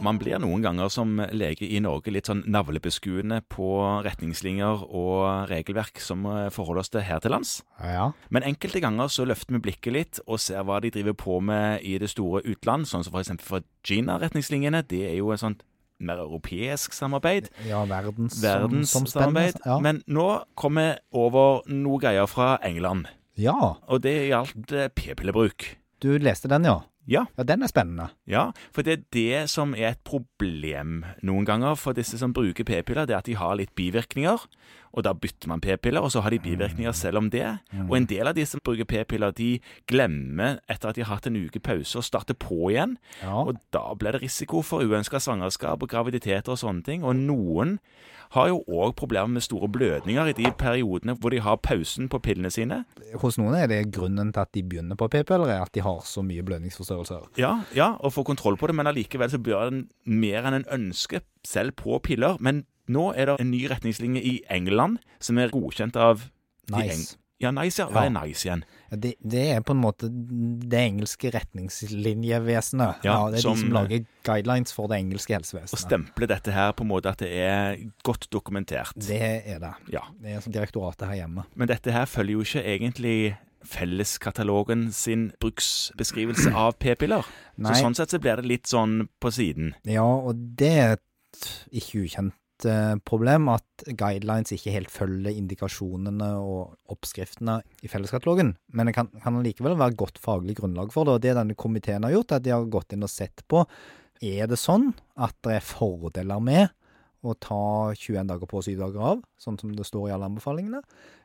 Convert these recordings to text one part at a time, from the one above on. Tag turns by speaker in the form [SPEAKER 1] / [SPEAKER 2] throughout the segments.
[SPEAKER 1] Man blir noen ganger som lege i Norge litt sånn navlebeskuende på retningslinjer og regelverk som eh, forholder oss til her til lands.
[SPEAKER 2] Ja.
[SPEAKER 1] Men enkelte ganger så løfter vi blikket litt og ser hva de driver på med i det store utland, sånn som f.eks. for Gina-retningslinjene. Det er jo et sånt mer europeisk samarbeid.
[SPEAKER 2] ja verdens, som, som
[SPEAKER 1] Verdenssamarbeid.
[SPEAKER 2] Ja.
[SPEAKER 1] Men nå kommer vi over noe greier fra England,
[SPEAKER 2] ja,
[SPEAKER 1] og det gjaldt eh, p-pillebruk.
[SPEAKER 2] du leste den, ja.
[SPEAKER 1] Ja.
[SPEAKER 2] Ja, den er spennende.
[SPEAKER 1] Ja, for det er det som er et problem noen ganger for disse som bruker p-piller, det er at de har litt bivirkninger, og da bytter man p-piller, og så har de bivirkninger selv om det. Og en del av de som bruker p-piller, de glemmer etter at de har hatt en uke pause og starter på igjen,
[SPEAKER 2] Ja.
[SPEAKER 1] og da blir det risiko for uønska svangerskap og graviditeter og sånne ting. Og noen har jo òg problemer med store blødninger i de periodene hvor de har pausen på pillene sine.
[SPEAKER 2] Hos noen er det grunnen til at de begynner på p-piller, er at de har så mye blødningsforstørrelser.
[SPEAKER 1] Ja, ja, og få kontroll på det, men allikevel så bør en mer enn en ønske selv på piller. Men nå er det en ny retningslinje i England som er godkjent av de
[SPEAKER 2] Nice.
[SPEAKER 1] Eng- Ja, nice, ja. Hva
[SPEAKER 2] Ja.
[SPEAKER 1] er nice igjen?
[SPEAKER 2] Ja, Det, det er på en måte det engelske retningslinjevesenet. Ja,
[SPEAKER 1] Ja,
[SPEAKER 2] det er
[SPEAKER 1] som-
[SPEAKER 2] de som lager guidelines for det engelske
[SPEAKER 1] Å
[SPEAKER 2] helsevesenet.
[SPEAKER 1] stemple dette her på en måte at det er godt dokumentert.
[SPEAKER 2] Det er det.
[SPEAKER 1] Ja.
[SPEAKER 2] Det er som direktoratet her hjemme.
[SPEAKER 1] Men dette her følger jo ikke egentlig felleskatalogen sin bruksbeskrivelse av p-piller. Så
[SPEAKER 2] Nei.
[SPEAKER 1] sånn sett så blir det litt sånn på siden.
[SPEAKER 2] Ja, og det er et ikke ukjent eh, problem at guidelines ikke helt følger indikasjonene og oppskriftene i felleskatalogen. Men det kan, kan likevel være godt faglig grunnlag for det, og det denne komiteen har gjort, er at de har gått inn og sett på er det sånn at det er fordeler med å ta 21 dager på og 7 dager av, sånn som det står i alle anbefalingene,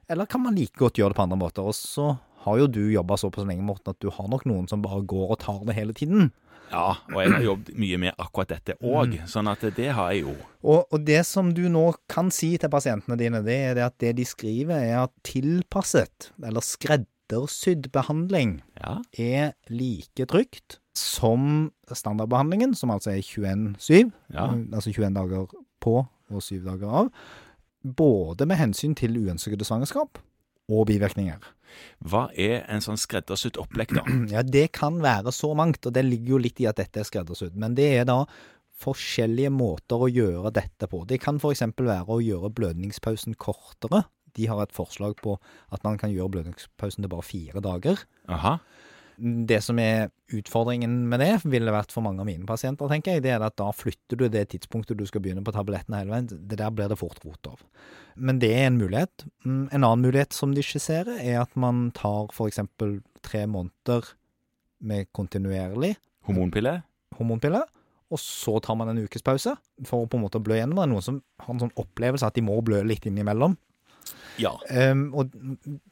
[SPEAKER 2] eller kan man like godt gjøre det på andre måter? Og så har jo du jobba såpass lenge, Morten, at du har nok noen som bare går og tar det hele tiden.
[SPEAKER 1] Ja, og jeg har jobbet mye med akkurat dette òg, sånn at det har jeg jo.
[SPEAKER 2] Og, og det som du nå kan si til pasientene dine, det er det at det de skriver er at tilpasset eller skreddersydd behandling
[SPEAKER 1] Ja.
[SPEAKER 2] er like trygt som standardbehandlingen, som altså er 21-7,
[SPEAKER 1] Ja.
[SPEAKER 2] altså 21 dager på og 7 dager av, både med hensyn til uønskede svangerskap og bivirkninger.
[SPEAKER 1] Hva er en sånn skreddersydd opplegg, da?
[SPEAKER 2] Ja, det kan være så mangt, og det ligger jo litt i at dette er skreddersydd. Men det er da forskjellige måter å gjøre dette på. Det kan f.eks. være å gjøre blødningspausen kortere. De har et forslag på at man kan gjøre blødningspausen til bare fire dager.
[SPEAKER 1] Aha.
[SPEAKER 2] Det som er utfordringen med det, ville vært for mange av mine pasienter, tenker jeg, det er at da flytter du det tidspunktet du skal begynne på tablettene hele veien. Det der blir det fort rot av. Men det er en mulighet. Mm, En annen mulighet som de skisserer, er at man tar f.eks. tre måneder med kontinuerlig
[SPEAKER 1] Hormonpille?
[SPEAKER 2] hormonpille, og så tar man en ukes pause for å på en måte blø gjennom det. Noen som har en sånn opplevelse at de må blø litt innimellom.
[SPEAKER 1] Ja.
[SPEAKER 2] Ehm, og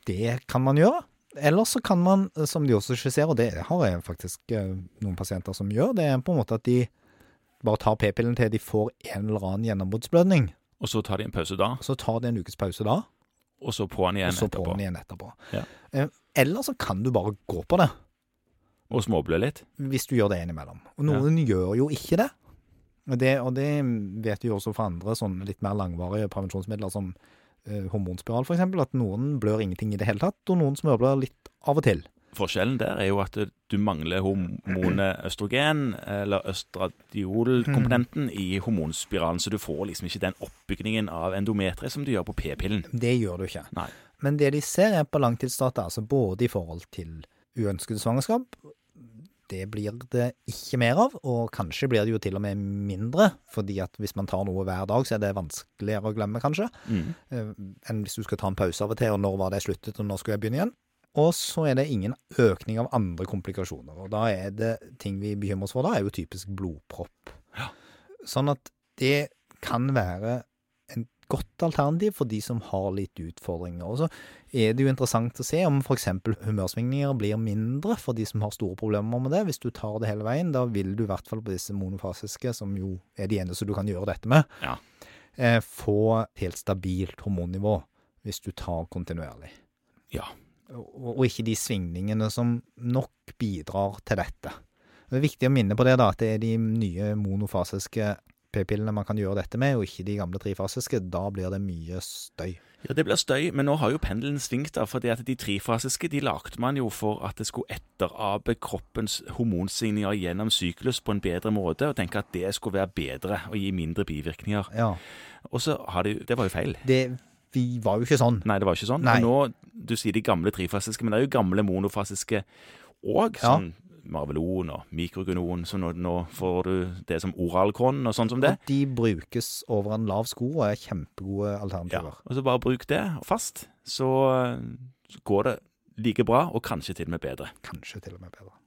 [SPEAKER 2] det kan man gjøre. Eller så kan man, eh, som de også skisserer, og det har jeg faktisk eh, noen pasienter som gjør, det er på en måte at de bare tar p-pillen til de får en eller annen gjennombruddsblødning.
[SPEAKER 1] Og så tar de en pause da,
[SPEAKER 2] Så tar de en ukes pause da,
[SPEAKER 1] og så på den
[SPEAKER 2] og
[SPEAKER 1] igjen
[SPEAKER 2] så på
[SPEAKER 1] etterpå.
[SPEAKER 2] den igjen etterpå.
[SPEAKER 1] Ja.
[SPEAKER 2] Eh, Eller så kan du bare gå på det,
[SPEAKER 1] Og småblø litt.
[SPEAKER 2] hvis du gjør det innimellom. Og noen gjør jo ikke det. Og det, og det vet vi jo også fra andre sånne litt mer langvarige prevensjonsmidler som eh, hormonspiral for eksempel, at noen blør ingenting i det hele tatt, og noen smørblør litt av og til.
[SPEAKER 1] Forskjellen der er jo at eh, du mangler hormonet østrogen, eller østradiolkomponenten,
[SPEAKER 2] Mm.
[SPEAKER 1] i hormonspiralen, så du får liksom ikke den oppbygningen av endometri som du gjør på p-pillen.
[SPEAKER 2] Det gjør du ikke.
[SPEAKER 1] Nei.
[SPEAKER 2] Men det de ser er på langtidsdata, altså både i forhold til uønskede svangerskap, det blir det ikke mer av, og kanskje blir det jo til og med mindre, fordi at hvis man tar noe hver dag, så er det vanskeligere å glemme, kanskje,
[SPEAKER 1] Mm.
[SPEAKER 2] eh, enn hvis du skal ta en pause av og til, og når var det sluttet, og når skulle jeg begynne igjen? Og så er det ingen økning av andre komplikasjoner, og da er det ting vi bekymrer oss for, da er jo typisk blodpropp.
[SPEAKER 1] Ja.
[SPEAKER 2] Sånn at det kan være en godt alternativ for de som har litt utfordringer. Og så er det jo interessant å se om f.eks. humørsvingninger blir mindre for de som har store problemer med det. Hvis du tar det hele veien, da vil du i hvert fall på disse monofasiske, som jo er de eneste du kan gjøre dette med,
[SPEAKER 1] Ja.
[SPEAKER 2] eh, få helt stabilt hormonnivå hvis du tar kontinuerlig.
[SPEAKER 1] Ja.
[SPEAKER 2] Og, og ikke de svingningene som nok bidrar til dette. Det er viktig å minne på det da, at det er de nye monofasiske p-pillene man kan gjøre dette med, og ikke de gamle trifasiske. Da blir det mye støy.
[SPEAKER 1] Ja, Det blir støy, men nå har jo pendelen svingt. da, fordi at De trifasiske de lagde man jo for at det skulle etterape kroppens hormonsigninger gjennom syklus på en bedre måte, og tenke at det skulle være bedre og gi mindre bivirkninger.
[SPEAKER 2] Ja.
[SPEAKER 1] Og så har det jo Det var jo feil.
[SPEAKER 2] Det, vi var jo ikke sånn.
[SPEAKER 1] Nei, det var ikke sånn.
[SPEAKER 2] Nei.
[SPEAKER 1] Og nå, Du sier de gamle trifasiske, men det er jo gamle monofasiske òg.
[SPEAKER 2] Ja.
[SPEAKER 1] Sånn Marvelon og mikrogenon, så nå, nå får du det som oralkon og sånn som det.
[SPEAKER 2] Og de brukes over en lav sko og er kjempegode
[SPEAKER 1] Ja,
[SPEAKER 2] alternativer.
[SPEAKER 1] og så bare bruk det fast, så, så går det like bra, og kanskje til og med bedre.
[SPEAKER 2] Kanskje til og med bedre.